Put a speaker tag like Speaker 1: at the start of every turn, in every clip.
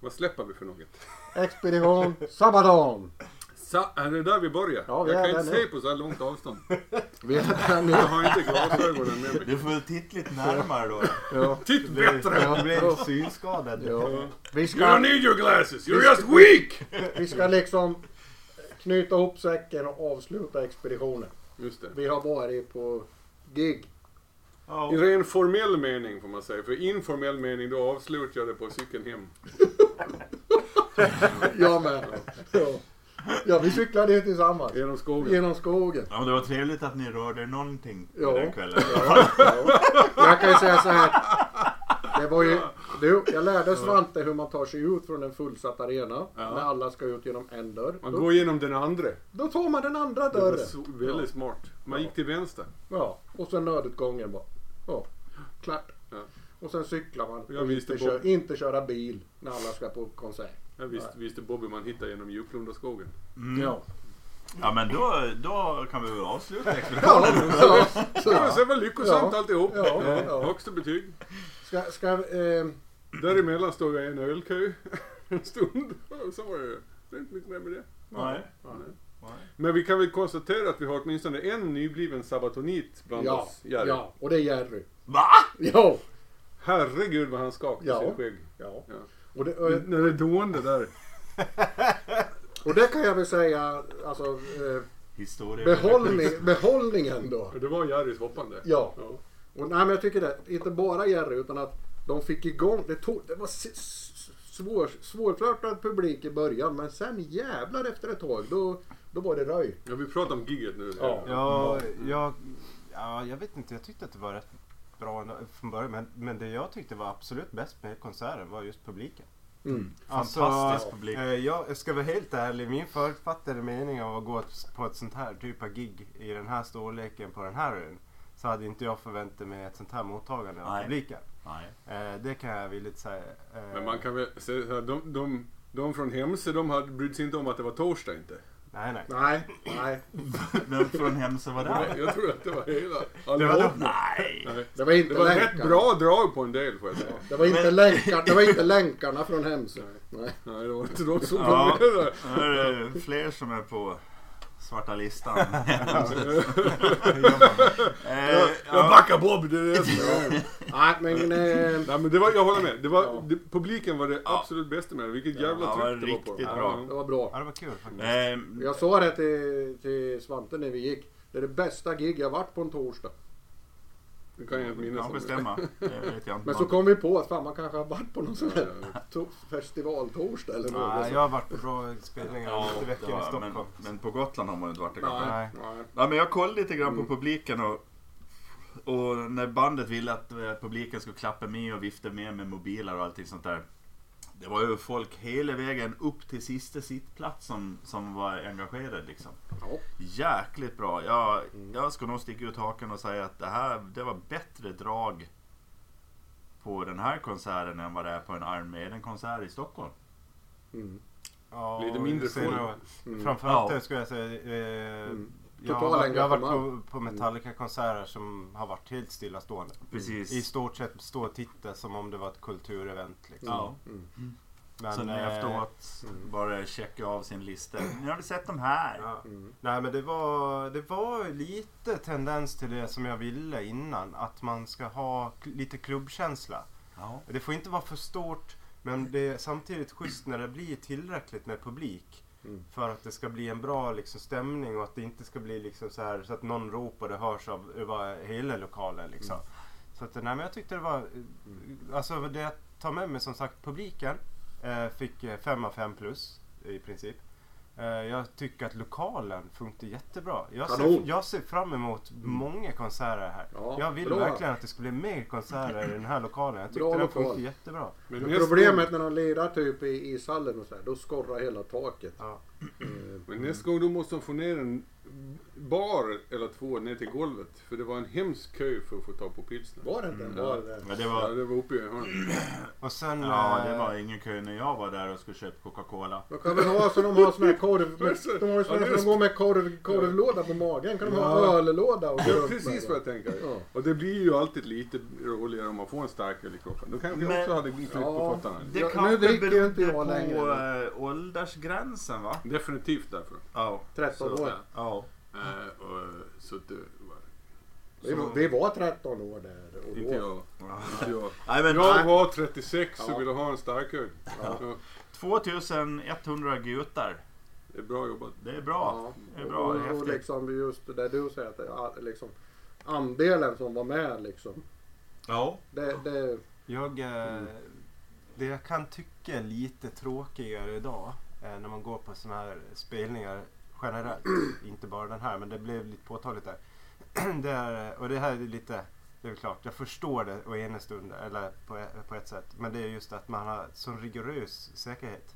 Speaker 1: Vad släpper vi för något?
Speaker 2: Expedition Sabaton.
Speaker 1: Sa, är det där vi börjar?
Speaker 2: Ja, vi
Speaker 1: jag
Speaker 2: är
Speaker 1: kan
Speaker 2: där
Speaker 1: inte
Speaker 2: nu.
Speaker 1: se på så här långt avstånd.
Speaker 2: Vi är här nu.
Speaker 1: Jag har inte glasögonen med mig.
Speaker 3: Du får väl titta lite närmare då.
Speaker 2: Ja.
Speaker 1: Titt bättre!
Speaker 2: Ja.
Speaker 3: Du blir synskadad.
Speaker 2: Ja. Vi,
Speaker 1: You don't
Speaker 2: ska,
Speaker 1: need your glasses, you're just weak!
Speaker 2: vi ska liksom knyta ihop säcken och avsluta expeditionen.
Speaker 1: Just det.
Speaker 2: Vi har varit på gig.
Speaker 3: Ja.
Speaker 1: I ren formell mening får man säga, för informell mening då avslutar jag det på cykeln hem.
Speaker 2: Jag med. Ja, ja vi cyklade ju tillsammans.
Speaker 1: Genom skogen.
Speaker 2: Genom skogen.
Speaker 3: Ja, men det var trevligt att ni rörde någonting
Speaker 2: Ja.
Speaker 3: den kvällen.
Speaker 2: Jag kan ju säga så här. Det var ju, du, jag lärde Svante hur man tar sig ut från en fullsatt arena.
Speaker 1: Ja.
Speaker 2: När alla ska ut genom en dörr.
Speaker 1: Man
Speaker 2: Då,
Speaker 1: går genom den andra.
Speaker 2: då tar man den andra
Speaker 1: Det var
Speaker 2: dörren.
Speaker 1: så, väldigt smart. Man gick till vänster.
Speaker 2: Ja, och sen nödutgången bara. Ja, klart.
Speaker 1: Ja.
Speaker 2: Och sen cyklar man.
Speaker 1: Jag
Speaker 2: och
Speaker 1: visste
Speaker 2: inte,
Speaker 1: på-
Speaker 2: kör, inte köra bil när alla ska på konsert.
Speaker 1: Jag visste, visste Bobby man hittar genom Djuplundaskogen. Mm.
Speaker 2: Ja.
Speaker 3: Ja, men då, då kan vi väl avsluta
Speaker 2: Ja,
Speaker 3: expeditionen.
Speaker 2: ja, så,
Speaker 1: Ja. Det var lyckosamt
Speaker 2: Ja.
Speaker 1: alltihop.
Speaker 2: Ja, ja.
Speaker 1: Högsta betyg.
Speaker 2: Ska, ska, eh,
Speaker 1: Däremellan stod jag i en ölkö en stund. Och så var det det är inte mycket mer med det.
Speaker 3: Nej.
Speaker 1: Nej.
Speaker 3: Nej.
Speaker 1: Men vi kan väl konstatera att vi har åtminstone en nybliven sabatonit bland
Speaker 2: ja,
Speaker 1: oss. Jerry.
Speaker 2: ja, och det är Jerry.
Speaker 3: Va?
Speaker 2: Ja,
Speaker 1: Herregud vad han skakade
Speaker 2: Ja.
Speaker 1: sitt skägg.
Speaker 2: ja.
Speaker 1: Ja.
Speaker 2: Och, det, och,
Speaker 1: När det dånade där.
Speaker 2: och det kan jag väl säga, alltså eh,
Speaker 3: Historia.
Speaker 2: behållning, behållningen då.
Speaker 1: Det var Jerrys hoppande.
Speaker 2: Ja. Och, nej men jag tycker det, inte bara Jerry utan att de fick igång, det, tog, det var s- s- svår, svårflörtad publik i början men sen jävlar efter ett tag då, då var det röj.
Speaker 1: Ja, vi pratar om giget nu.
Speaker 2: Ja.
Speaker 4: Ja, jag, ja, jag vet inte. Jag tyckte att det var rätt bra ändå från början. Men, men det jag tyckte var absolut bäst med konserten var just publiken.
Speaker 3: Mm.
Speaker 4: Alltså,
Speaker 3: Fantastisk publik.
Speaker 4: eh, jag ska vara helt ärlig. Min förutfattade mening av att gå på ett sånt här typ av gig i den här storleken på den här ön. Så hade inte jag förväntat mig ett sånt här mottagande av
Speaker 3: Nej.
Speaker 4: publiken.
Speaker 3: Nej.
Speaker 4: Eh, det kan jag villigt säga. Eh,
Speaker 1: Men man kan väl säga så här, de, de, de från Hemse de hade, brydde sig inte om att det var torsdag inte.
Speaker 4: Nej, nej.
Speaker 2: Nej, nej.
Speaker 3: Vem från Hemsö var där?
Speaker 1: Jag tror att det var hela.
Speaker 4: Det var
Speaker 1: allihop.
Speaker 4: de, nej!
Speaker 1: Nej.
Speaker 2: Det var inte
Speaker 1: Det var
Speaker 2: länkarna.
Speaker 1: rätt bra drag på en del får jag säga.
Speaker 2: Det var inte,
Speaker 3: Men-
Speaker 2: länkar, det var inte länkarna från Hemsö. Nej.
Speaker 1: Nej, det var inte de som
Speaker 3: Ja.
Speaker 1: var med där.
Speaker 3: Nu är det fler som är på svarta listan. Eh,
Speaker 1: Jag
Speaker 3: ja.
Speaker 1: backar Bob, det är det som är.
Speaker 2: Nej men eh,
Speaker 1: Nej men det var, jag håller med. Det var,
Speaker 2: Ja.
Speaker 1: det, publiken var det absolut bästa med det. Vilket jävla
Speaker 3: Ja, det var
Speaker 1: tryck det var på
Speaker 3: riktigt
Speaker 1: dem.
Speaker 3: bra.
Speaker 2: det var bra.
Speaker 4: Ja, det var kul faktiskt.
Speaker 3: Eh,
Speaker 2: Jag sa det till, till Svante när vi gick. Det är det bästa gig jag varit på en torsdag.
Speaker 1: Det kan jag inte minnas.
Speaker 3: Kan bestämma. Det vet jag inte.
Speaker 2: Men så kom vi på att fan man kanske har varit på någon sån här to- festivaltorsdag eller något.
Speaker 4: Nej, jag har varit på bra spelningar
Speaker 3: Ja,
Speaker 4: lite veckor i
Speaker 3: ja,
Speaker 4: Stockholm.
Speaker 3: men, men på Gotland har man ju inte varit det kanske.
Speaker 1: Nej.
Speaker 4: Nej.
Speaker 1: Nej.
Speaker 3: Ja, men jag kollade lite grann
Speaker 4: Mm.
Speaker 3: på publiken och, och när bandet ville att eh, publiken skulle klappa med och vifta med med mobiler och allting sånt där. Det var ju folk hela vägen upp till sista sittplats som, som var engagerade liksom.
Speaker 2: Ja.
Speaker 3: Jäkligt bra. Jag,
Speaker 4: Mm.
Speaker 3: jag ska nog sticka ut haken och säga att det här det var bättre drag på den här konserten än vad det är på en Iron Maiden-konsert i Stockholm.
Speaker 4: Mm. Ja,
Speaker 1: Lite mindre
Speaker 4: sen
Speaker 1: folk.
Speaker 4: då- Framförallt
Speaker 3: Mm. Ja.
Speaker 4: det skulle jag säga. Eh, Jag,
Speaker 2: Total
Speaker 4: har, varit- jag har varit
Speaker 2: engagemang.
Speaker 4: på, på Metallica-konserter som har varit helt stillastående.
Speaker 3: Precis.
Speaker 4: I stort sett stå och titta som om det var ett kulturevent. Liksom.
Speaker 3: Ja.
Speaker 4: Men,
Speaker 3: Sen
Speaker 4: eh,
Speaker 3: efteråt bara checka av sin lista. Nu har vi sett de här.
Speaker 4: Ja. Nej men det var, det var lite tendens till det som jag ville innan. Att man ska ha k- lite klubbkänsla.
Speaker 3: Ja.
Speaker 4: Det får inte vara för stort men det är samtidigt schysst när det blir tillräckligt med publik.
Speaker 2: Mm.
Speaker 4: För att det ska bli en bra liksom, stämning och att det inte ska bli liksom, så, här, så att någon ropar och det hörs av över hela lokalen. Liksom.
Speaker 2: Mm.
Speaker 4: Så att, nej, men jag tyckte det var... eh, Alltså det jag tar med mig som sagt publiken eh, fick 5 av 5 plus i princip. Eh, jag tycker att lokalen funkar jättebra. Jag
Speaker 2: Kanon.
Speaker 4: ser, jag ser fram emot många konserter här.
Speaker 2: Ja,
Speaker 4: jag vill
Speaker 2: bra.
Speaker 4: verkligen att det ska bli mer konserter i den här lokalen.
Speaker 2: Bra
Speaker 4: Jag tyckte den
Speaker 2: lokal.
Speaker 4: funkade jättebra.
Speaker 1: Men
Speaker 2: Men
Speaker 1: nästa-
Speaker 2: Problemet när de lirar typ i ishallen och så här, då skorrar hela taket.
Speaker 4: Ja.
Speaker 1: Men nästa gång då måste de få ner en bar eller två ner till golvet. För det var en hemsk kö för att få tag på pilsner.
Speaker 2: Var det inte en bar där?
Speaker 3: Men det
Speaker 1: Ja,
Speaker 3: var,
Speaker 1: det var uppe i hörnet.
Speaker 4: Och sen...
Speaker 3: ja,
Speaker 4: eh,
Speaker 3: det var ingen kö när jag var där och skulle köpa Coca-Cola.
Speaker 2: Då kan väl ha så de har sån här korv... Med, de har ju sån här
Speaker 1: Ja, det är
Speaker 2: som går med korv, korvlåda på magen. Kan de
Speaker 1: Ja.
Speaker 2: ha öllåda och
Speaker 1: Det
Speaker 2: gå
Speaker 1: var
Speaker 2: runt med
Speaker 1: precis
Speaker 2: det?
Speaker 1: vad jag tänker.
Speaker 2: Ja.
Speaker 1: Och det blir ju alltid lite roligare om man får en stark öl i kroppen. Då kanske jag
Speaker 3: Men-
Speaker 1: också hade glidit
Speaker 2: Ja.
Speaker 1: på fötterna.
Speaker 3: Det
Speaker 2: Ja, nu
Speaker 3: kanske
Speaker 2: dricker ju inte
Speaker 3: berodde
Speaker 2: jag
Speaker 3: på
Speaker 2: längre.
Speaker 3: eh, åldersgränsen va?
Speaker 1: Definitivt därför.
Speaker 3: Ja.
Speaker 2: 13 år.
Speaker 3: ja.
Speaker 1: Eh, och, så att det var...
Speaker 2: Vi, var- vi var 13 år där. Och
Speaker 1: Inte
Speaker 2: då.
Speaker 1: jag. Inte jag.
Speaker 3: Nej, men,
Speaker 1: Jag
Speaker 3: nej.
Speaker 1: var 36 och
Speaker 2: Ja.
Speaker 1: ville ha en stark öl. Så
Speaker 3: 2100 gutar.
Speaker 1: det är bra jobbat.
Speaker 3: Det är bra. Det är bra,
Speaker 2: och,
Speaker 3: det
Speaker 2: och, och
Speaker 3: är häftigt.
Speaker 2: liksom just det där du säger att det, är, liksom, andelen som var med liksom.
Speaker 3: Ja.
Speaker 2: Det, det,
Speaker 4: Jag,
Speaker 3: Mm.
Speaker 4: eh, det jag kan tycka är lite tråkigare idag eh, när man går på sådana här spelningar generellt, inte bara den här men det blev lite påtagligt där. det är, och det här är lite, det är väl klart, jag förstår det å ena stunden, eller på, e- på ett sätt, men det är just att man har sån rigorös säkerhet.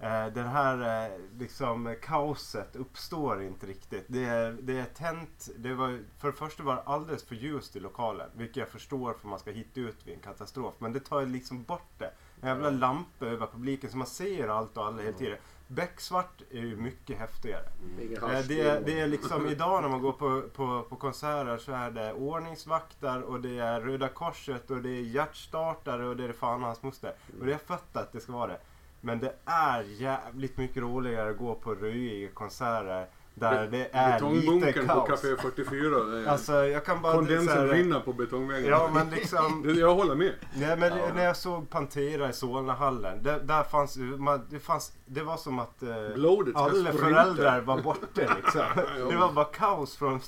Speaker 4: Eh, Den här eh, liksom kaoset uppstår inte riktigt. Det är, det är tänt. Det var, för det första var det alldeles för ljust i lokalen. Vilket jag förstår för man ska hitta ut vid en katastrof. Men det tar liksom bort det. En jävla lampa över publiken så man ser allt och alla hela tiden. Becksvart är ju mycket häftigare.
Speaker 2: ingen
Speaker 4: Eh,
Speaker 2: hasch,
Speaker 4: Det är,
Speaker 2: ingen-
Speaker 4: det är liksom idag när man går på, på, på konserter så är det ordningsvakter och det är Röda Korset och det är hjärtstartare och det är fan hans moster. Och det är fött att det ska vara det. Men det är jävligt mycket roligare att gå på röjiga konserter där det är lite
Speaker 1: Betongbunken på
Speaker 4: kaos.
Speaker 1: Café 44. det är-
Speaker 4: Alltså jag kan bara... så
Speaker 1: Kondensen
Speaker 4: här-
Speaker 1: rinner på betongväggen.
Speaker 4: Ja men liksom...
Speaker 1: Det- Jag håller med.
Speaker 4: Nej, men
Speaker 3: Ja.
Speaker 4: när jag såg Pantera i Solnahallen. Där, där fanns, ju- man, det fanns... Det var som att... Eh,
Speaker 1: Blodet ska
Speaker 4: alla
Speaker 1: spruta.
Speaker 4: föräldrar var borta liksom. Det var bara kaos från,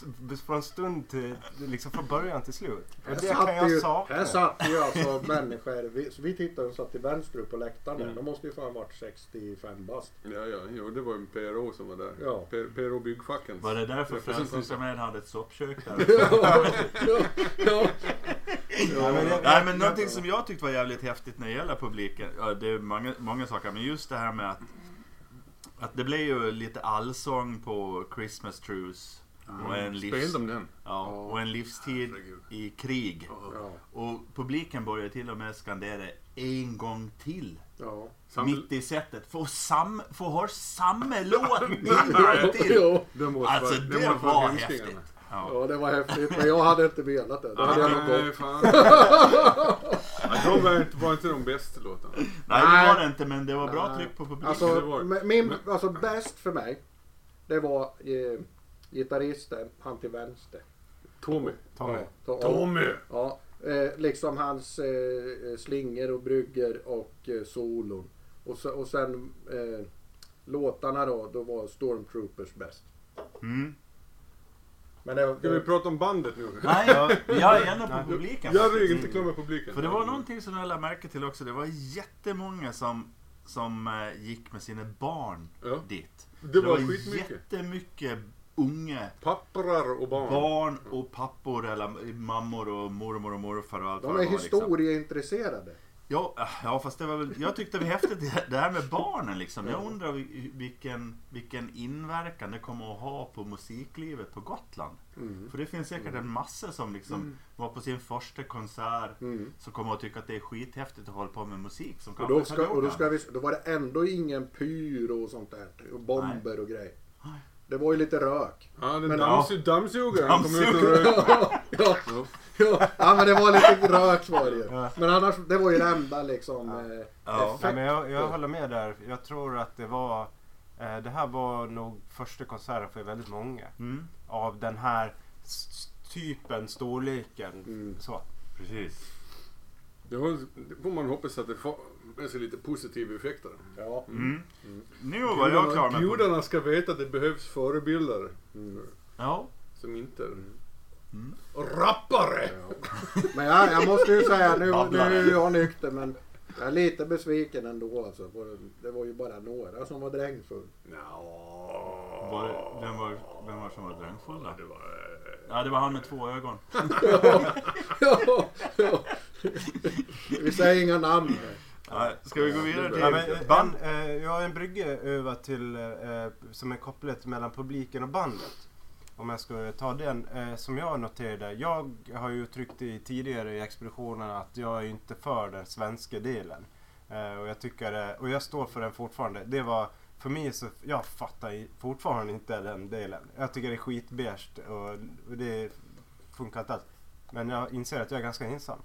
Speaker 4: från stund till... Liksom från början till slut.
Speaker 2: Här
Speaker 4: Och det Alltså, kan
Speaker 2: satt
Speaker 4: jag
Speaker 2: ju,
Speaker 4: sakna.
Speaker 2: Här satt ju alltså människor. Vi, så vi tittade och satt till vänster upp på läktaren.
Speaker 4: Mm.
Speaker 2: De måste ju fan varit 65 bast.
Speaker 1: Ja, ja, jo, det var en PRO som var där.
Speaker 2: Ja.
Speaker 1: P- PRO Byggfacken.
Speaker 3: Var det därför
Speaker 1: Representant.
Speaker 3: Frälsningsarmén hade ett soppkök där?
Speaker 2: ja.
Speaker 4: Nej, men det-
Speaker 3: Nej men någonting som jag tyckte var jävligt häftigt när det gäller publiken, ja, det är många, många saker, men just det här med att, att det blev ju lite allsång på Christmas Truce. Och en, livs,
Speaker 1: Spelade de den?
Speaker 3: ja, och en livstid
Speaker 1: Herregud.
Speaker 3: i krig.
Speaker 2: Ja.
Speaker 3: Och publiken började till och med skandera en gång till.
Speaker 2: Ja.
Speaker 1: Sam-
Speaker 3: Mitt i setet. Få, sam, få höra samma låt en gång till.
Speaker 2: Ja,
Speaker 1: Den måste
Speaker 3: Alltså
Speaker 1: vara- den
Speaker 3: det
Speaker 1: måste
Speaker 3: var
Speaker 1: vara
Speaker 3: häftigt.
Speaker 1: hemskingarna.
Speaker 3: Ja.
Speaker 2: ja, det var häftigt. Men jag hade inte velat det. Då hade jag
Speaker 1: Ja,
Speaker 2: nog
Speaker 1: men, eh,
Speaker 2: gått.
Speaker 1: fan. Ja, de var inte, var inte de bästa låtarna.
Speaker 3: Nej det var det
Speaker 2: Nej.
Speaker 3: inte men det var bra
Speaker 2: Nej.
Speaker 3: tryck på publiken.
Speaker 2: Alltså,
Speaker 1: det var-
Speaker 2: m- min, alltså bäst för mig, det var eh, gitarristen, han till vänster.
Speaker 1: Tommy.
Speaker 4: Tommy.
Speaker 2: Ja,
Speaker 1: Tommy!
Speaker 2: Ja, eh, liksom hans eh, slinger och brygger och eh, solon. Och, så, och sen eh, låtarna då, då var Stormtroopers bäst. Eh,
Speaker 3: Mm.
Speaker 2: Men det,
Speaker 1: Ska vi prata om bandet nu?
Speaker 3: Nej, jag är ändå på publiken. Mm.
Speaker 1: Jag vill inte glömma publiken.
Speaker 3: För det var någonting som jag lade märke till också. Det var jättemånga som, som eh, gick med sina barn
Speaker 1: Ja.
Speaker 3: dit.
Speaker 1: Det var skitmycket.
Speaker 3: jättemycket unga
Speaker 1: Papprar och barn.
Speaker 3: barn och pappor eller mammor och mormor och morfar och allt
Speaker 2: de
Speaker 3: vad det
Speaker 2: är
Speaker 3: var, Liksom.
Speaker 2: historieintresserade.
Speaker 3: Ja, eh, ja, fast det var väl, jag tyckte det var häftigt det- det här med barnen liksom. Jag undrar vi- vilken, vilken inverkan det kommer att ha på musiklivet på Gotland.
Speaker 2: Mm.
Speaker 3: För det finns säkert en massa som liksom var på sin första konsert som kommer att tycka att det är skithäftigt att hålla på med musik. Som
Speaker 2: Mm. Och,
Speaker 3: kanske
Speaker 2: då,
Speaker 3: inte
Speaker 2: ska,
Speaker 3: hade gjort
Speaker 2: och då,
Speaker 3: det
Speaker 2: ska vi, då var det ändå ingen pyro och sånt där. typ, Och bomber och grejer. Det var ju lite rök.
Speaker 1: Ja, den
Speaker 2: Men-
Speaker 1: dammsug- dammsugaren kom ut och rökte.
Speaker 2: ja, ja, ja, ja, men det var lite rök var det ju. Men annars, det var ju det enda liksom. Eh,
Speaker 3: Ja.
Speaker 4: Nej, men jag, jag håller med där. Jag tror att det var... Eh, det här var nog första konserten för väldigt många.
Speaker 3: Mm,
Speaker 4: Av den här s- typen, storleken. Så.
Speaker 3: precis.
Speaker 1: Det var- det får man hoppas att det får med sig lite positiva effekter.
Speaker 2: ja.
Speaker 3: Mm. Nu var jag klar med...
Speaker 1: Gudarna ska veta att det behövs förebilder
Speaker 2: Mm.
Speaker 3: Ja.
Speaker 1: som inte... Rappare!
Speaker 2: Men jag, jag måste ju säga, nu, nu
Speaker 3: Babblar.
Speaker 2: är jag nykter men jag är lite besviken ändå alltså. på det. Det var ju bara några som var drängfull.
Speaker 3: Var, det- vem, var, vem var som var drängfull då? Ja, det var han med två ögon.
Speaker 2: Ja, ja. Vi säger inga namn.
Speaker 3: Ja, ska vi gå vidare
Speaker 1: det
Speaker 3: till
Speaker 4: Ja,
Speaker 3: band?
Speaker 4: men, band, eh, jag har en brygga över till, eh, som är kopplat mellan publiken och bandet. om jag ska ta den, eh, som jag noterade. Jag har ju uttryckt i tidigare i expeditionen att jag är inte för den svenska delen. Eh, och jag tycker, eh, och jag står för den fortfarande. Det var, för mig så, jag fattar i- fortfarande inte den delen. Jag tycker det är skitbeige och, och det funkar inte alls. Men jag inser att jag är ganska ensam.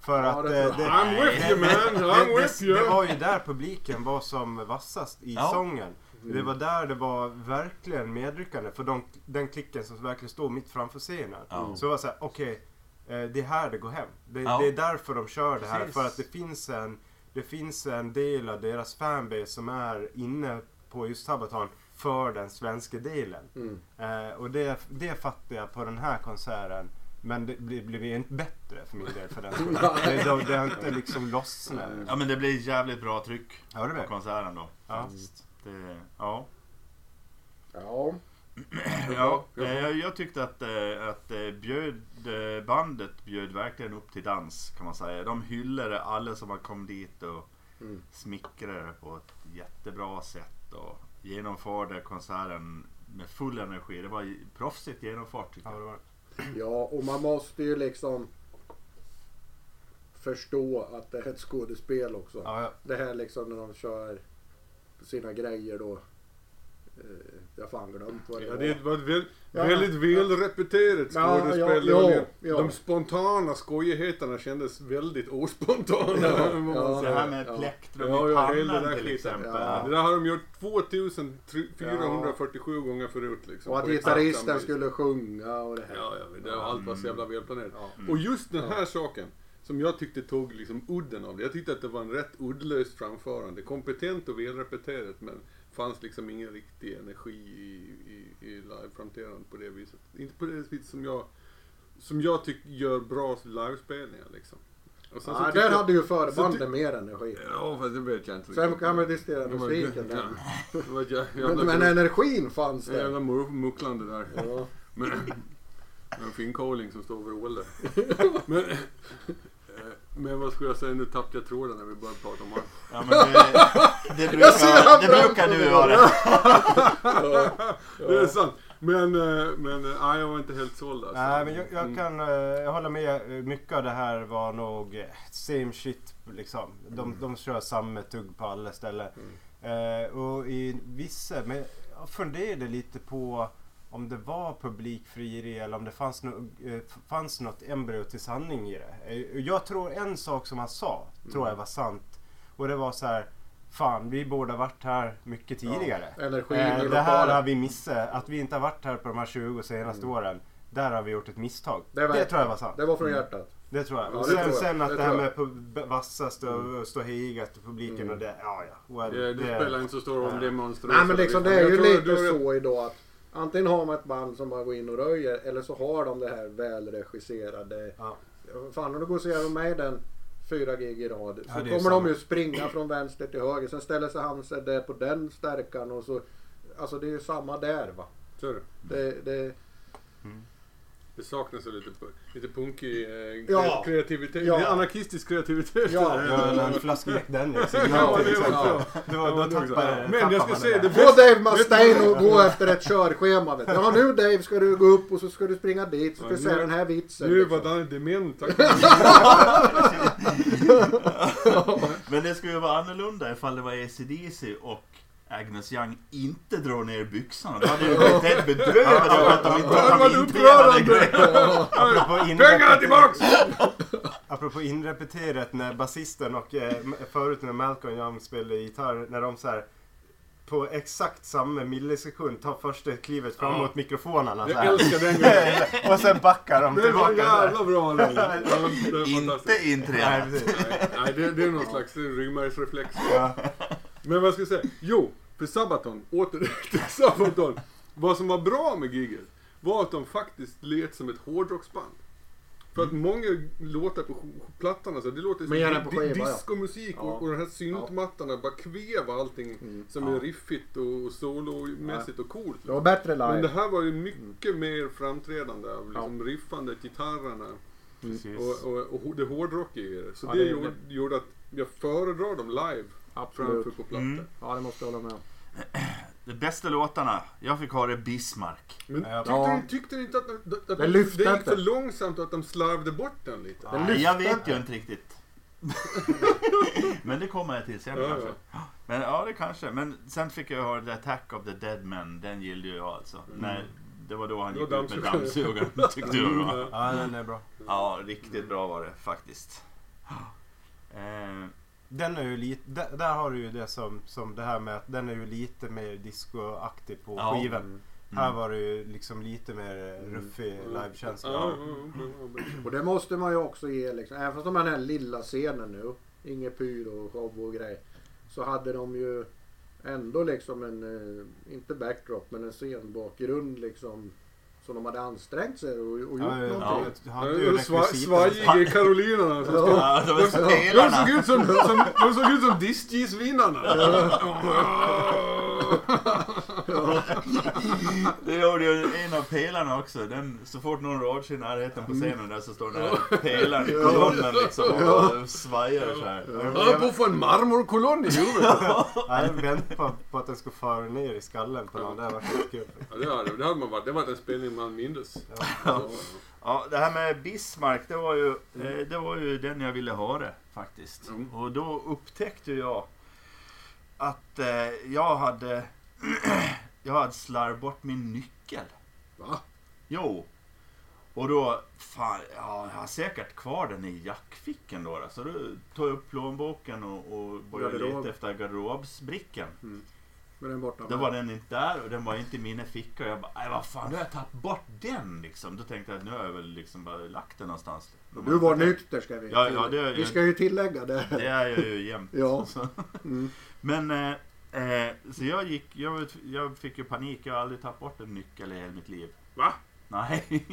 Speaker 4: För
Speaker 2: Ja,
Speaker 4: att...
Speaker 2: det
Speaker 4: eh,
Speaker 2: tror jag.
Speaker 4: det-
Speaker 1: I'm with you man, I'm
Speaker 4: det,
Speaker 1: with
Speaker 4: det, det
Speaker 1: you!
Speaker 4: var ju där publiken var som vassast i
Speaker 3: Ja.
Speaker 4: sången. Det var där det var verkligen medryckande för de, den klicken som verkligen stod mitt framför scenen.
Speaker 3: Ja.
Speaker 4: Så det var såhär, okej, eh, det är här det går hem. Det,
Speaker 3: Ja.
Speaker 4: det är därför de kör det här.
Speaker 3: Precis.
Speaker 4: För att det finns, en, det finns en del av deras fanbase som är inne på just Sabaton för den svenska delen.
Speaker 2: Mm.
Speaker 4: Eh, och det, det fattar jag på den här konserten. Men det blir- blev ju inte bättre för min del för den skull. det, det, det har inte liksom lossnat.
Speaker 3: Ja men det blir jävligt bra tryck
Speaker 4: Ja, det
Speaker 3: på
Speaker 4: blir.
Speaker 3: konserten då.
Speaker 4: Ja.
Speaker 3: Faktiskt. Det, ja.
Speaker 2: Ja.
Speaker 3: Ja, eh, jag, jag tyckte att, eh, att eh, bjöd, eh, bandet bjöd verkligen upp till dans kan man säga. De hyllade alla som har kommit dit och
Speaker 2: Mm.
Speaker 3: smickrade det på ett jättebra sätt och genomförde konserten med full energi. Det var ju proffsigt genomfört tycker
Speaker 4: Ja, det
Speaker 3: jag.
Speaker 4: var det.
Speaker 2: ja, och man måste ju liksom förstå att det här är ett skådespel också.
Speaker 4: Ja, ja.
Speaker 2: Det här liksom när de kör sina grejer då. Eh, jag har fan glömt vad det
Speaker 1: Ja,
Speaker 2: var.
Speaker 1: det var ett väl,
Speaker 2: Ja.
Speaker 1: väldigt väl repeterat
Speaker 2: Ja,
Speaker 1: skådespel.
Speaker 2: ja,
Speaker 1: Det var
Speaker 2: ja,
Speaker 1: ju-
Speaker 2: ja.
Speaker 1: De spontana skojigheterna kändes väldigt ospontana.
Speaker 2: Ja,
Speaker 1: må man
Speaker 2: ja.
Speaker 1: säga.
Speaker 3: Det här med
Speaker 2: Ja.
Speaker 3: plektrum
Speaker 1: Ja,
Speaker 3: i
Speaker 1: ja, hela den
Speaker 3: pannan
Speaker 1: där
Speaker 3: till
Speaker 1: skiten.
Speaker 3: exempel.
Speaker 2: Ja.
Speaker 1: Det där har de gjort 2447 gånger förut. Liksom,
Speaker 2: Och att
Speaker 1: på exakt samma
Speaker 2: gitarristen
Speaker 1: vis.
Speaker 2: skulle sjunga och det här.
Speaker 1: Ja, ja, det var allt var så jävla välplanerat.
Speaker 2: Mm. Ja.
Speaker 1: Och just den här saken som jag tyckte tog liksom udden av det. Jag tyckte att det var en rätt uddlöst framförande. Kompetent och välrepeterat men fanns liksom ingen riktig energi i, i, i liveframträdandet på det viset. Inte på det viset som jag, som jag tycker gör bra livespelningar liksom. Och sen så
Speaker 2: Ja,
Speaker 1: tyckte
Speaker 2: där
Speaker 1: jag-
Speaker 2: hade ju
Speaker 1: så
Speaker 2: förbandet
Speaker 1: ty-
Speaker 2: mer energi.
Speaker 1: Ja, fast det vet jag inte
Speaker 2: Sen kan man diskutera
Speaker 1: Det var
Speaker 2: musiken.
Speaker 1: gött,
Speaker 2: där.
Speaker 1: ja. Det var ett jä-
Speaker 2: Men,
Speaker 1: jävla-
Speaker 2: men energin fanns
Speaker 1: det var
Speaker 2: där.
Speaker 1: Jävla mur- mucklande där.
Speaker 2: Ja.
Speaker 1: Men, med en finkoling som står och vrålar. Men, eh, men vad skulle jag säga, nu tappade jag tråden när vi började prata om honom.
Speaker 3: Ja, men det, det, brukar, det brukar du göra.
Speaker 1: Det är sant. Men, eh, men eh, nej, jag var inte helt såld alltså.
Speaker 4: Nej, men jag, jag kan eh, jag håller med. Eh, Mycket av det här var nog eh, same shit liksom. De, de kör samma tugg på alla ställen. Eh, och i vissa, men jag funderade lite på om det var publikfrieri eller om det fanns, no, eh, f- fanns något embryo till sanning i det. Eh, Jag tror en sak som han sa, tror jag var sant. Och det var så här, fan vi borde ha varit här mycket tidigare.
Speaker 2: Energin i
Speaker 4: Eh, det här har
Speaker 2: lokalen.
Speaker 4: vi missat. Att vi inte har varit här på de här 20 senaste
Speaker 1: Mm.
Speaker 4: åren. Där har vi gjort ett misstag.
Speaker 2: Det
Speaker 4: Det,
Speaker 2: var-
Speaker 4: tror jag var sant.
Speaker 2: Det var från hjärtat.
Speaker 4: Det tror jag.
Speaker 2: Ja,
Speaker 4: och
Speaker 2: det
Speaker 4: sen,
Speaker 2: tror jag.
Speaker 4: sen att
Speaker 2: Det
Speaker 4: det, här
Speaker 2: tror
Speaker 4: med pub- vassast och, och stå hejigat och publiken och det. Ja, ja. Well,
Speaker 1: Mm. Eh, Det, det spelar inte så stor roll om det är monstruöst.
Speaker 2: Nej men liksom det är
Speaker 1: Jag
Speaker 2: ju
Speaker 1: tror- jag
Speaker 2: lite
Speaker 1: tror att-
Speaker 2: så idag att antingen har man ett band som bara går in och röjer eller så har de det här välregisserade.
Speaker 4: Ja.
Speaker 2: Fan om du går och ser med den fyra gig i rad så
Speaker 4: Ja, det är
Speaker 2: kommer de
Speaker 4: samma.
Speaker 2: ju springa från vänster till höger. Sen ställer sig han sig där på den stärkan och så. Alltså det är ju samma där va.
Speaker 1: Så är det.
Speaker 2: Det, det,
Speaker 1: Det saknas ju lite, pu- lite punkig eh,
Speaker 2: Ja.
Speaker 1: kreativitet.
Speaker 2: Ja.
Speaker 1: Det är anarkistisk kreativitet.
Speaker 2: Ja.
Speaker 1: det
Speaker 4: Ja,
Speaker 1: här.
Speaker 4: eller en flaskjäck Dennis.
Speaker 1: Ja, det
Speaker 4: till
Speaker 1: är
Speaker 4: exempel.
Speaker 1: också.
Speaker 4: Det var-
Speaker 1: Ja,
Speaker 4: Då
Speaker 1: det är också.
Speaker 4: tappar
Speaker 1: Men
Speaker 4: tappar
Speaker 1: jag ska
Speaker 4: man
Speaker 1: säga,
Speaker 4: det.
Speaker 1: det
Speaker 2: Få Dave Mustaine och gå efter ett körschema. Vet du. Ja nu Dave ska du gå upp och så ska du springa dit. Så ska du
Speaker 1: Ja,
Speaker 2: säga
Speaker 1: nu-
Speaker 2: den här vitsen.
Speaker 1: Nu
Speaker 2: liksom.
Speaker 1: var Danne dement. tack.
Speaker 3: Men det skulle ju vara annorlunda ifall det var ACDC och Agnes Young inte drar ner byxorna. Då hade ju blivit helt bedrövad över att de inte
Speaker 1: Det hade varit
Speaker 3: hade inträdande.
Speaker 1: upprörande!
Speaker 4: Apropå
Speaker 1: Pengarna
Speaker 4: inre-
Speaker 1: tillbaks!
Speaker 4: Apropå inrepeterat när basisten och eh, m- förut när Malcolm Young spelade gitarr när de så här på exakt samma millisekund tar första klivet fram mot mikrofonerna så
Speaker 1: Jag
Speaker 4: här.
Speaker 1: älskar den grejen.
Speaker 4: och sen backar de
Speaker 1: Det är så
Speaker 4: tillbaka. så här.
Speaker 1: jävla bra låt. Ja, det är
Speaker 3: Inte
Speaker 1: fantastiskt.
Speaker 4: Nej,
Speaker 3: inträdande.
Speaker 4: precis.
Speaker 1: Nej, Nej, det, det är någon slags ryggmärgsreflex.
Speaker 4: Ja.
Speaker 1: Men vad ska jag säga? Jo, för Sabaton, åter till Sabaton. Vad som var bra med giget var att de faktiskt lät som ett hårdrocksband. För att många låtar på sk- plattan, alltså, det låter som
Speaker 2: Mer än på
Speaker 1: di-
Speaker 2: skiva, ja.
Speaker 1: discomusik
Speaker 2: Ja.
Speaker 1: och, och de här syntmattarna bara kvev allting som är riffigt och, och solomässigt och coolt.
Speaker 2: Mm. Det var bättre live.
Speaker 1: Men det här var ju mycket mer framträdande av liksom riffandet, gitarrerna
Speaker 3: Precis.
Speaker 1: och, och, och ho- det hårdrockiga i det. Så
Speaker 2: Ja,
Speaker 1: det,
Speaker 2: det-
Speaker 1: gjorde, gjorde att jag föredrar dem live
Speaker 2: Absolut.
Speaker 1: framför på platta.
Speaker 3: Mm.
Speaker 2: Ja det måste jag hålla med om.
Speaker 3: De bästa låtarna, jag fick ha det Bismarck.
Speaker 1: Men
Speaker 4: Ja.
Speaker 1: tyckte,
Speaker 2: Ja.
Speaker 1: du, tyckte du inte att, de- att, att
Speaker 2: Den
Speaker 1: det
Speaker 2: lyfte
Speaker 1: gick
Speaker 2: inte.
Speaker 1: för långsamt och att de slarvade bort den lite?
Speaker 4: Ja. Den
Speaker 3: Nej, jag
Speaker 2: lyfte.
Speaker 3: vet ju inte riktigt. Men det kommer jag till sen
Speaker 1: Ja,
Speaker 3: kanske.
Speaker 1: ja.
Speaker 3: Men ja, det kanske. Men sen fick jag höra The Attack of the Dead Men. Den gillade ju jag alltså. Nej, det var då han
Speaker 1: Mm. Då
Speaker 3: gick ut med
Speaker 1: dammsugaren.
Speaker 3: dammsugaren tyckte jag då.
Speaker 1: Ja.
Speaker 4: Ja, den är bra.
Speaker 3: Ja, riktigt bra var det faktiskt. Eh,
Speaker 4: Den är ju lite, där, där har du ju det som, som det här med att den är ju lite mer discoaktig på
Speaker 3: Ja.
Speaker 4: skivan.
Speaker 1: Mm.
Speaker 4: Här var det ju liksom lite mer eh, ruffig livekänsla.
Speaker 1: Ja, ja, ja, ja.
Speaker 2: Och det måste man ju också ge liksom. Även fast de har den här lilla scenen nu. Inget pyro och show och grej. Så hade de ju ändå liksom en, eh, inte backdrop, men en scenbakgrund liksom. Som de hade ansträngt sig och, och gjort
Speaker 4: Ja, ja,
Speaker 2: någonting.
Speaker 4: ja,
Speaker 1: Ja,
Speaker 4: hade ju
Speaker 1: det sva-
Speaker 4: rekvisita.
Speaker 1: Svajige karolinerna som ska...
Speaker 3: ja, de är
Speaker 1: De
Speaker 3: spelarna.
Speaker 1: såg ut som, som, de såg ut som discjeesvinnarna.
Speaker 3: Det gjorde ju en av pelarna också. Den, så fort någon rör sig i närheten på scenen där så står den här pelaren i kolonnen liksom och svajar så här.
Speaker 1: Jag höll på att få en marmorkolonn i huvudet.
Speaker 4: Jag hade väntat på, på att den skulle fara ner i skallen på någon. Det hade varit kul.
Speaker 1: Ja, det, hade, det hade man varit. Det var en spelning man mindes. Alltså, Ja.
Speaker 3: Ja, det här med Bismarck, det var ju, eh, det var ju den jag ville ha det faktiskt.
Speaker 1: Mm.
Speaker 3: Och då upptäckte jag att eh, jag hade, jag hade slarvat bort min nyckel.
Speaker 1: Va?
Speaker 3: Jo. Och då, fan, ja, jag har säkert kvar den i jackfickan då. då. Så då tog jag upp plånboken och, och började
Speaker 2: Garderob.
Speaker 3: leta efter garderobsbrickan.
Speaker 2: Men den är borta.
Speaker 3: Då var den inte där och den var inte i mina fickor. Jag bara, "Aj, vad fan, nu har jag tagit bort den liksom. Då tänkte jag att nu har jag väl liksom bara lagt den någonstans.
Speaker 2: Du var nykter ska vi
Speaker 3: Ja, ja, det-
Speaker 2: Vi ska ju tillägga det.
Speaker 3: Det är jag ju jämt.
Speaker 2: Ja.
Speaker 3: Så.
Speaker 2: Mm.
Speaker 3: Men, eh, eh, så jag gick, jag, jag fick ju panik. Jag har aldrig tagit bort en nyckel i hela mitt liv.
Speaker 1: Va?
Speaker 3: Nej.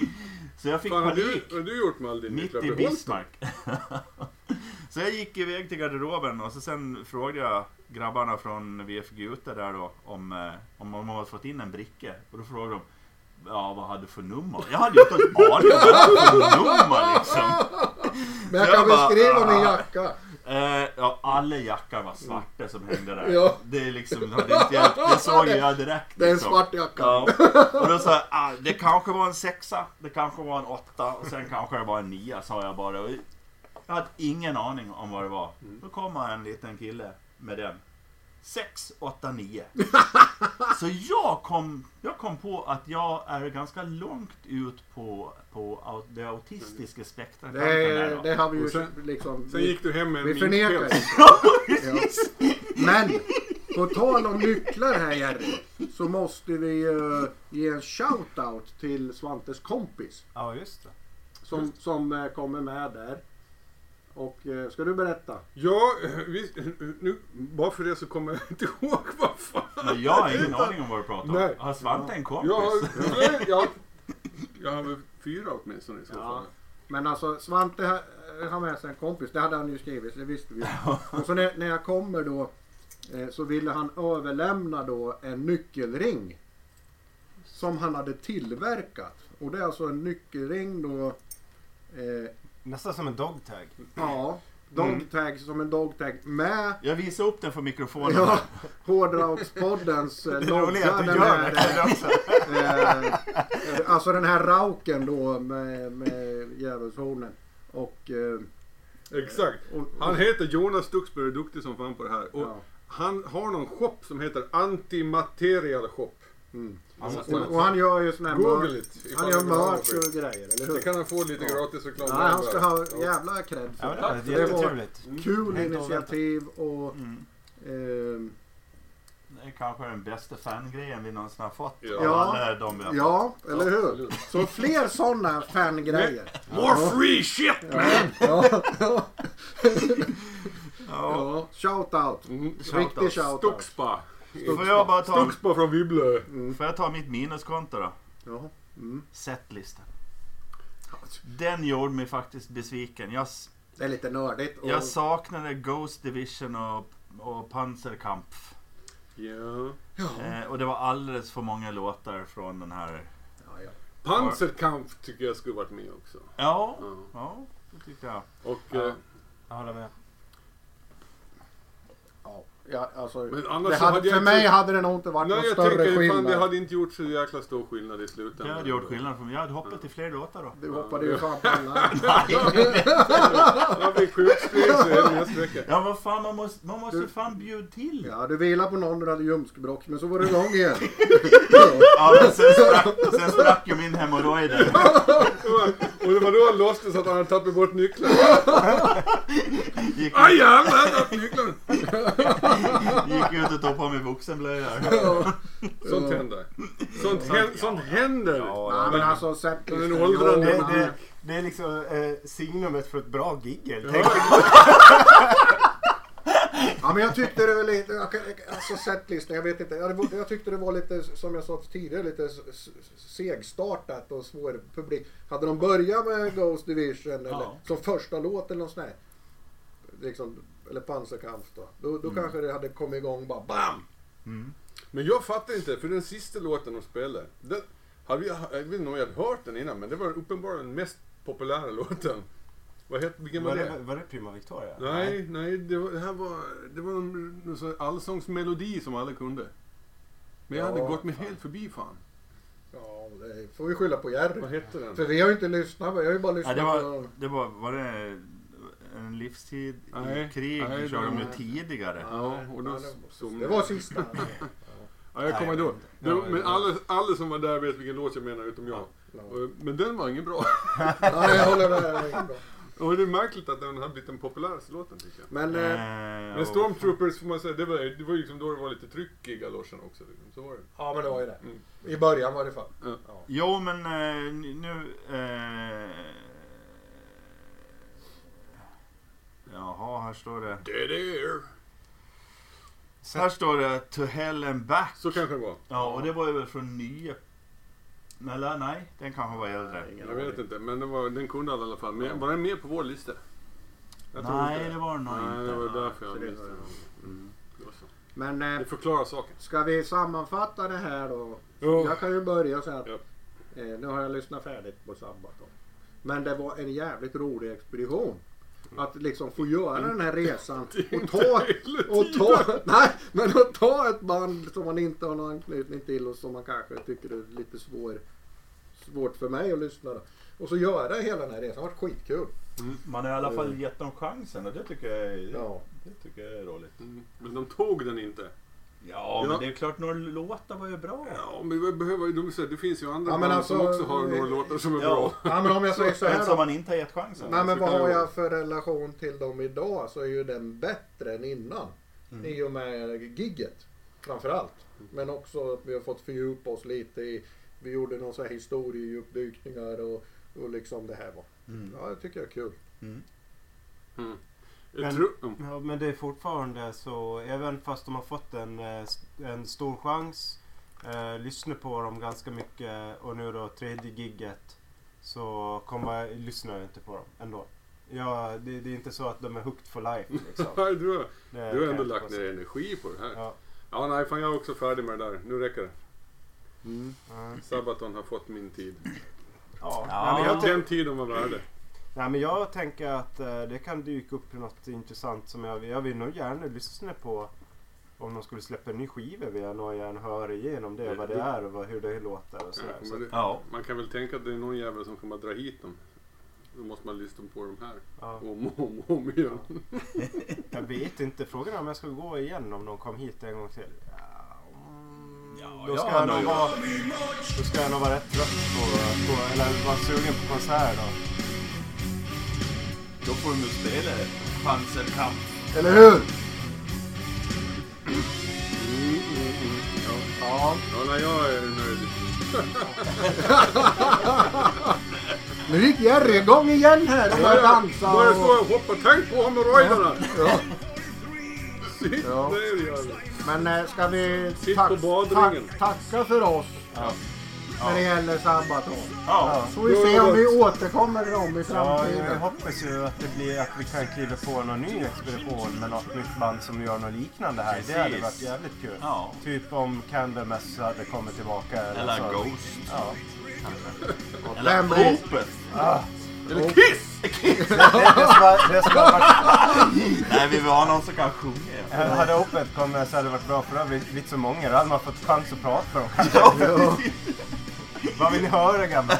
Speaker 3: så jag fick
Speaker 1: Fan, har du,
Speaker 3: panik.
Speaker 1: har du gjort med all din
Speaker 3: Mitt
Speaker 1: nycklar?
Speaker 3: i
Speaker 1: Behåll-
Speaker 3: Bismarck. så jag gick iväg till garderoben och så sen frågade jag grabbarna från VF Gute där då om, eh, om de hade fått in en bricka. Och då frågade de Ja, vad hade du för nummer? Jag hade ju inte en aning om vad jag hade för nummer liksom.
Speaker 2: Men jag
Speaker 3: Jag
Speaker 2: kan
Speaker 3: bara,
Speaker 2: beskriva min
Speaker 3: ah.
Speaker 2: jacka.
Speaker 3: Eh, ja, alla jackor var svarta som hängde där.
Speaker 2: Ja.
Speaker 3: Det är liksom, det, är inte hjälpt. det såg ju jag direkt.
Speaker 2: Det är en
Speaker 3: liksom.
Speaker 2: svart jacka.
Speaker 3: Ja. Och då sa jag, ah, det kanske var en sexa, det kanske var en åtta och sen kanske det var en nia sa jag bara. Och Jag hade ingen aning om vad det var.
Speaker 2: Mm.
Speaker 3: Då kom en liten kille med den. sex, åtta, nio. Så jag kom, jag kom på att jag är ganska långt ut på, på au- det autistiska spektrat.
Speaker 2: Det, det har vi ju
Speaker 1: Och sen-
Speaker 2: liksom...
Speaker 1: Sen gick du hem med en
Speaker 2: vi förnekar det.
Speaker 1: minkpäls.
Speaker 2: Ja. Men på tal om nycklar här Jerry. Så måste vi eh, ge en shout-out till Svantes kompis.
Speaker 4: Ja, just det.
Speaker 2: Som, som eh, kommer med där. Och eh, ska du berätta?
Speaker 1: Ja, vi, nu, bara för det så kommer jag inte ihåg vad fan.
Speaker 3: Men jag har ingen aning om vad du pratar om.
Speaker 1: Nej.
Speaker 3: Har Svante en kompis?
Speaker 1: Jag har, nej, jag, jag har väl fyra åtminstone i så
Speaker 2: Ja.
Speaker 1: fall.
Speaker 2: Men alltså Svante eh, ha- har med sig alltså en kompis. Det hade han ju skrivit, det visste vi ju. Och så när, när jag kommer då eh, så ville han överlämna då en nyckelring. Som han hade tillverkat. Och det är alltså en nyckelring då. Eh,
Speaker 4: Nästan som en dogtag.
Speaker 2: ja, dogtag
Speaker 4: Mm.
Speaker 2: som en dogtag med
Speaker 3: Jag visar upp den för mikrofonen.
Speaker 2: ja, Hårdrockspoddens eh,
Speaker 4: Det är roligt
Speaker 2: logga.
Speaker 4: att du
Speaker 2: Den
Speaker 4: gör
Speaker 2: här,
Speaker 4: det här också.
Speaker 2: eh, eh, alltså den här rauken då med, med djävulshornen. Och, eh,
Speaker 1: Exakt.
Speaker 2: och, och
Speaker 1: Han heter Jonas Duxberg och är duktig som fan på det här. Och
Speaker 2: ja.
Speaker 1: Han har någon shop som heter Antimaterial shop.
Speaker 2: Mm.
Speaker 1: Han måste
Speaker 2: Och, och han gör ju sån här
Speaker 1: Google
Speaker 2: merch.
Speaker 1: it.
Speaker 2: Han
Speaker 1: ifall
Speaker 2: gör
Speaker 1: du vill ha något.
Speaker 2: merch och grejer, eller
Speaker 1: Det
Speaker 2: hur?
Speaker 1: kan han få lite
Speaker 2: Ja.
Speaker 1: gratis reklam
Speaker 2: Nej, han ska ha
Speaker 1: Ja.
Speaker 2: jävla cred för
Speaker 4: Ja, men det var
Speaker 2: det.
Speaker 4: ett
Speaker 2: Det var
Speaker 4: jättetrevligt.
Speaker 2: kul
Speaker 4: Mm.
Speaker 2: initiativ och...
Speaker 3: Mm.
Speaker 2: ehm,
Speaker 3: Det är kanske den bästa fangrejen vi någonsin har fått.
Speaker 1: Ja.
Speaker 3: av alla de vi har
Speaker 2: ja, eller hur?
Speaker 1: absolut.
Speaker 2: Så fler sådana fangrejer.
Speaker 1: More free shit!
Speaker 2: Ja, ja, ja,
Speaker 3: Ja.
Speaker 2: ja. Shout out.
Speaker 1: Mm.
Speaker 2: Riktig shout out.
Speaker 1: Stuxpa.
Speaker 3: Får jag bara ta,
Speaker 1: Stuxpa från Vibble.
Speaker 3: får jag ta mitt minuskonto då?
Speaker 2: Ja. Mm.
Speaker 3: Setlistan. Den gjorde mig faktiskt besviken. Jag, s-
Speaker 2: Det är lite nördigt. Och,
Speaker 3: jag saknade Ghost Division och, och Panzerkampf.
Speaker 1: Ja.
Speaker 3: Eh, och det var alldeles för många låtar från den här.
Speaker 2: ja, ja.
Speaker 1: Panzerkampf tycker jag skulle varit med också. eh,
Speaker 3: Ja,
Speaker 1: Ja.
Speaker 3: ja det tyckte jag.
Speaker 1: Och
Speaker 4: Ja.
Speaker 1: eh,
Speaker 4: Jag håller med.
Speaker 2: Ja, alltså,
Speaker 1: Men annars
Speaker 2: det
Speaker 1: så hade
Speaker 2: hade,
Speaker 1: jag
Speaker 2: för
Speaker 1: inte-
Speaker 2: mig hade det nog inte varit
Speaker 1: Nej,
Speaker 2: någon
Speaker 1: jag
Speaker 2: större
Speaker 1: tänker
Speaker 2: skillnad.
Speaker 1: fan det hade inte gjort så jäkla stor skillnad i
Speaker 3: Det
Speaker 1: slutändan.
Speaker 3: hade gjort skillnad för mig. Jag hade hoppat i fler låtar då.
Speaker 2: Du hoppade ju fan på alla.
Speaker 1: Jag blir sjukskriven så är det nästa vecka.
Speaker 3: Ja vad fan man måste, man måste
Speaker 2: Du-
Speaker 3: fan bjuda till.
Speaker 2: Ja, du vilade på någon du hade ljumskbråck, men så var du igång igen.
Speaker 3: Ja, men sen, sprack, sen sprack ju min hemorrojder.
Speaker 1: Det var- Och det var då han låtsades att han hade tappat bort nycklarna.
Speaker 3: Gick,
Speaker 1: Aj, han hade tappat nycklarna!
Speaker 3: gick ut och tog på mig vuxenblöja.
Speaker 1: Sånt händer. Sånt, hän, sånt händer!
Speaker 2: Nej, men alltså Sepp
Speaker 1: Men en
Speaker 2: Krister,
Speaker 1: åldrande
Speaker 2: jo,
Speaker 4: Det,
Speaker 1: man.
Speaker 2: men-
Speaker 4: det, det är liksom eh, signumet för ett bra gig helt
Speaker 1: Ja,
Speaker 4: enkelt.
Speaker 2: Ja, men jag tyckte det var lite, jag kan- alltså setlistan, jag vet inte. Jag, jag tyckte det var lite, som jag sa tidigare, lite s- s- segstartat och svår publik. Hade de börjat med Ghost Division eller
Speaker 3: Ja.
Speaker 2: som första låt eller något sånt där, liksom, eller Panzerkampf då, då, då kanske det hade kommit igång bara BAM!
Speaker 1: Men jag fattar inte, för den sista låten de spelade, den, hade vi, jag vet inte om jag hade hört den innan, men det var uppenbarligen den mest populära låten. Vad hette, vilken var
Speaker 4: Var
Speaker 1: det?
Speaker 4: det, var det Prima Victoria?
Speaker 1: Nej, nej, det, var, det här var, det var en, en sån här allsångsmelodi som alla kunde. Men jag hade
Speaker 2: Ja,
Speaker 1: gått mig helt förbi fan.
Speaker 2: Ja, det får vi skylla på Jerry.
Speaker 1: Vad hette den?
Speaker 2: För vi har ju inte lyssnat, vi har ju bara
Speaker 3: Ja,
Speaker 2: lyssnat
Speaker 3: det
Speaker 2: på...
Speaker 3: var, det var, var det en livstid i
Speaker 1: Nej,
Speaker 3: krig
Speaker 1: nej,
Speaker 3: körde de
Speaker 1: det
Speaker 3: ju
Speaker 1: var-
Speaker 3: tidigare.
Speaker 1: Ja, och då
Speaker 2: Ja,
Speaker 1: somnade
Speaker 2: Det
Speaker 1: jag.
Speaker 2: var sista.
Speaker 1: Ja, jag kommer
Speaker 3: Nej,
Speaker 1: då.
Speaker 4: jag vet inte.
Speaker 1: Men alla, alla som var där vet vilken låt jag menar, utom jag. Och- Men den var ingen bra.
Speaker 2: Ja, jag håller med. det var inget bra.
Speaker 1: Och det är märkligt att den hade blivit den populäraste låten tycker jag.
Speaker 2: Men... eh,
Speaker 3: Eh,
Speaker 1: Men
Speaker 3: och-
Speaker 1: Stormtroopers får man säga, det var, det var ju liksom då det var lite tryck i galoscherna också. Liksom. Så var det.
Speaker 2: Ja men det var ju det.
Speaker 1: Mm.
Speaker 2: I början var det fan.
Speaker 1: Ja.
Speaker 3: Jo men eh, nu... Eh, jaha, här står det...
Speaker 1: Det där.
Speaker 3: Här står det To Hell and Back.
Speaker 1: Så kanske det var.
Speaker 3: Ja, och det var ju väl från nya... Eller nej, den kanske var äldre.
Speaker 1: Jag vet inte, men den, var, den kunde alla i alla fall. Men var den med på vår lista? Jag tror
Speaker 3: Nej,
Speaker 1: inte
Speaker 3: det var den nog
Speaker 1: Nej, det
Speaker 3: inte.
Speaker 1: var därför jag
Speaker 2: Så det
Speaker 1: missade
Speaker 2: var-
Speaker 1: den. Det var så.
Speaker 2: Men eh,
Speaker 1: Det förklarar saken.
Speaker 2: ska vi sammanfatta det här då? Jag kan ju börja så här.
Speaker 1: Ja.
Speaker 2: Eh, nu har jag lyssnat färdigt på Sabbat då. Men det var en jävligt rolig expedition. Att liksom få göra den här resan och ta, och ta, nej, men att ta ett band som man inte har någon anknytning till och som man kanske tycker är lite svår, svårt för mig att lyssna. då. Och så göra hela den här resan. Det har varit skitkul.
Speaker 3: Man har i alla fall gett dem chansen och det tycker jag är,
Speaker 2: Ja.
Speaker 3: det tycker jag är roligt.
Speaker 1: Mm. Men de tog den inte.
Speaker 3: Ja, men
Speaker 1: Ja.
Speaker 3: det är klart några låtar var ju bra.
Speaker 1: Ja, men vi behöver, de, säger, det finns ju andra
Speaker 2: Ja, men
Speaker 1: band som
Speaker 2: alltså,
Speaker 1: också har några
Speaker 2: eh,
Speaker 1: låtar som är
Speaker 3: ja.
Speaker 1: bra.
Speaker 2: Ja men om jag säger så
Speaker 3: Men
Speaker 2: här
Speaker 3: som
Speaker 2: då.
Speaker 3: man inte har gett chansen.
Speaker 2: Nej men
Speaker 1: så
Speaker 2: vad
Speaker 1: kan det
Speaker 2: har
Speaker 1: vara.
Speaker 2: jag för relation till dem idag så är ju den bättre än innan.
Speaker 1: Mm.
Speaker 3: Mm.
Speaker 2: I och med gigget framförallt. Men också att vi har fått fördjupa oss lite i, vi gjorde någon så här historiedjupdykningar och, och liksom det här var.
Speaker 3: Mm.
Speaker 2: Ja det tycker jag är kul.
Speaker 1: Jag
Speaker 4: Men-
Speaker 1: tror- mm.
Speaker 4: Ja, men det är fortfarande så, även fast de har fått en, eh, s- en stor chans, eh, lyssna på dem ganska mycket och nu då tredje gigget så kommer jag, lyssnar jag inte på dem ändå. Ja, det, det är inte så att de är hooked for life liksom.
Speaker 1: Nej, du, har,
Speaker 4: Det
Speaker 1: du
Speaker 4: kan
Speaker 1: har
Speaker 4: jag
Speaker 1: ändå
Speaker 4: inte
Speaker 1: lagt
Speaker 4: påstå.
Speaker 1: ner energi på det här.
Speaker 4: Ja.
Speaker 1: Ja, nej, fan jag är också färdig med det där. Nu räcker det.
Speaker 4: Ja.
Speaker 1: Sabaton har fått min tid.
Speaker 4: Mm. Ja.
Speaker 3: Ja.
Speaker 4: Nej, men jag,
Speaker 1: Den tiden var värde.
Speaker 4: Nej men jag tänker att eh, det kan dyka upp något intressant som jag, jag vill nog gärna lyssna på. Om de skulle släppa en ny skiva vill jag nog gärna höra igenom det, vad det är och vad, hur det låter och
Speaker 1: Ja,
Speaker 4: sådär.
Speaker 1: Mm, men
Speaker 4: Så,
Speaker 1: det-
Speaker 3: Ja.
Speaker 1: Man kan väl tänka att det är någon jävel som kommer att dra hit dem. Då måste man lyssna på de här
Speaker 4: ja.
Speaker 1: om och om, och om igen.
Speaker 4: Jag vet inte, frågan är om jag ska gå igen om de kom hit en gång till. Ja, mm,
Speaker 3: Ja,
Speaker 4: då,
Speaker 3: jag
Speaker 4: ska
Speaker 3: hade
Speaker 4: jag nog
Speaker 3: ju-
Speaker 4: vara, då ska jag nog vara rätt trött på, på eller vara sugen på konsert då.
Speaker 3: Då får de ju spela Panzerkamp.
Speaker 2: Eller hur?
Speaker 1: Mm, mm, mm. Ja.
Speaker 4: Ja,
Speaker 1: ja, nej, jag är nöjd.
Speaker 2: Nu gick Jerry igång igen här och började dansa.
Speaker 1: Bara
Speaker 2: Och,
Speaker 1: stå och hoppa. Tänk på hemorrojderna!
Speaker 2: ja.
Speaker 1: Sitt
Speaker 2: Ja.
Speaker 1: ner jävel.
Speaker 2: Men eh, ska vi
Speaker 1: Sitt
Speaker 2: tack-
Speaker 1: på badringen.
Speaker 2: tack- tacka för oss när det gäller Sabaton.
Speaker 3: Ja.
Speaker 2: Så vi se om vi återkommer till dem i
Speaker 4: ja,
Speaker 2: framtiden.
Speaker 4: jag hoppas ju att, det blir, att vi kan kliva på någon ny expedition med något nytt band som gör något liknande här. Det hade
Speaker 3: Precis.
Speaker 4: varit jävligt kul.
Speaker 3: Ja.
Speaker 4: Typ om Candlemass hade kommit tillbaka.
Speaker 3: Eller
Speaker 4: så.
Speaker 3: Ghost.
Speaker 4: Ja.
Speaker 3: Eller
Speaker 2: Vem vet?
Speaker 3: Opeth.
Speaker 4: Ah,
Speaker 1: Eller Kiss!
Speaker 4: Det som har, det som har varit,
Speaker 3: Nej, vi vill ha någon som kan sjunga.
Speaker 4: hade Opet kommit så hade det varit bra för då hade vi blivit så många. Då hade man fått chans att prata med dem. Vad vill ni höra gamla?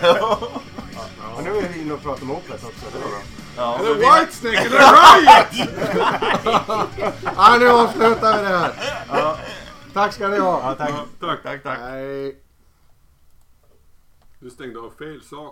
Speaker 4: Och nu är vi inne och pratar om Opet också. Det var bra.
Speaker 3: Ja,
Speaker 1: Eller
Speaker 3: men vi-
Speaker 1: Whitesnake! Eller Riot!
Speaker 2: Ja, nu avslutar vi det här. Tack ska ni ha.
Speaker 4: Ja, tack.
Speaker 1: Tack.
Speaker 3: Tack, tack.
Speaker 2: Hej.
Speaker 1: Du stängde av fel sak.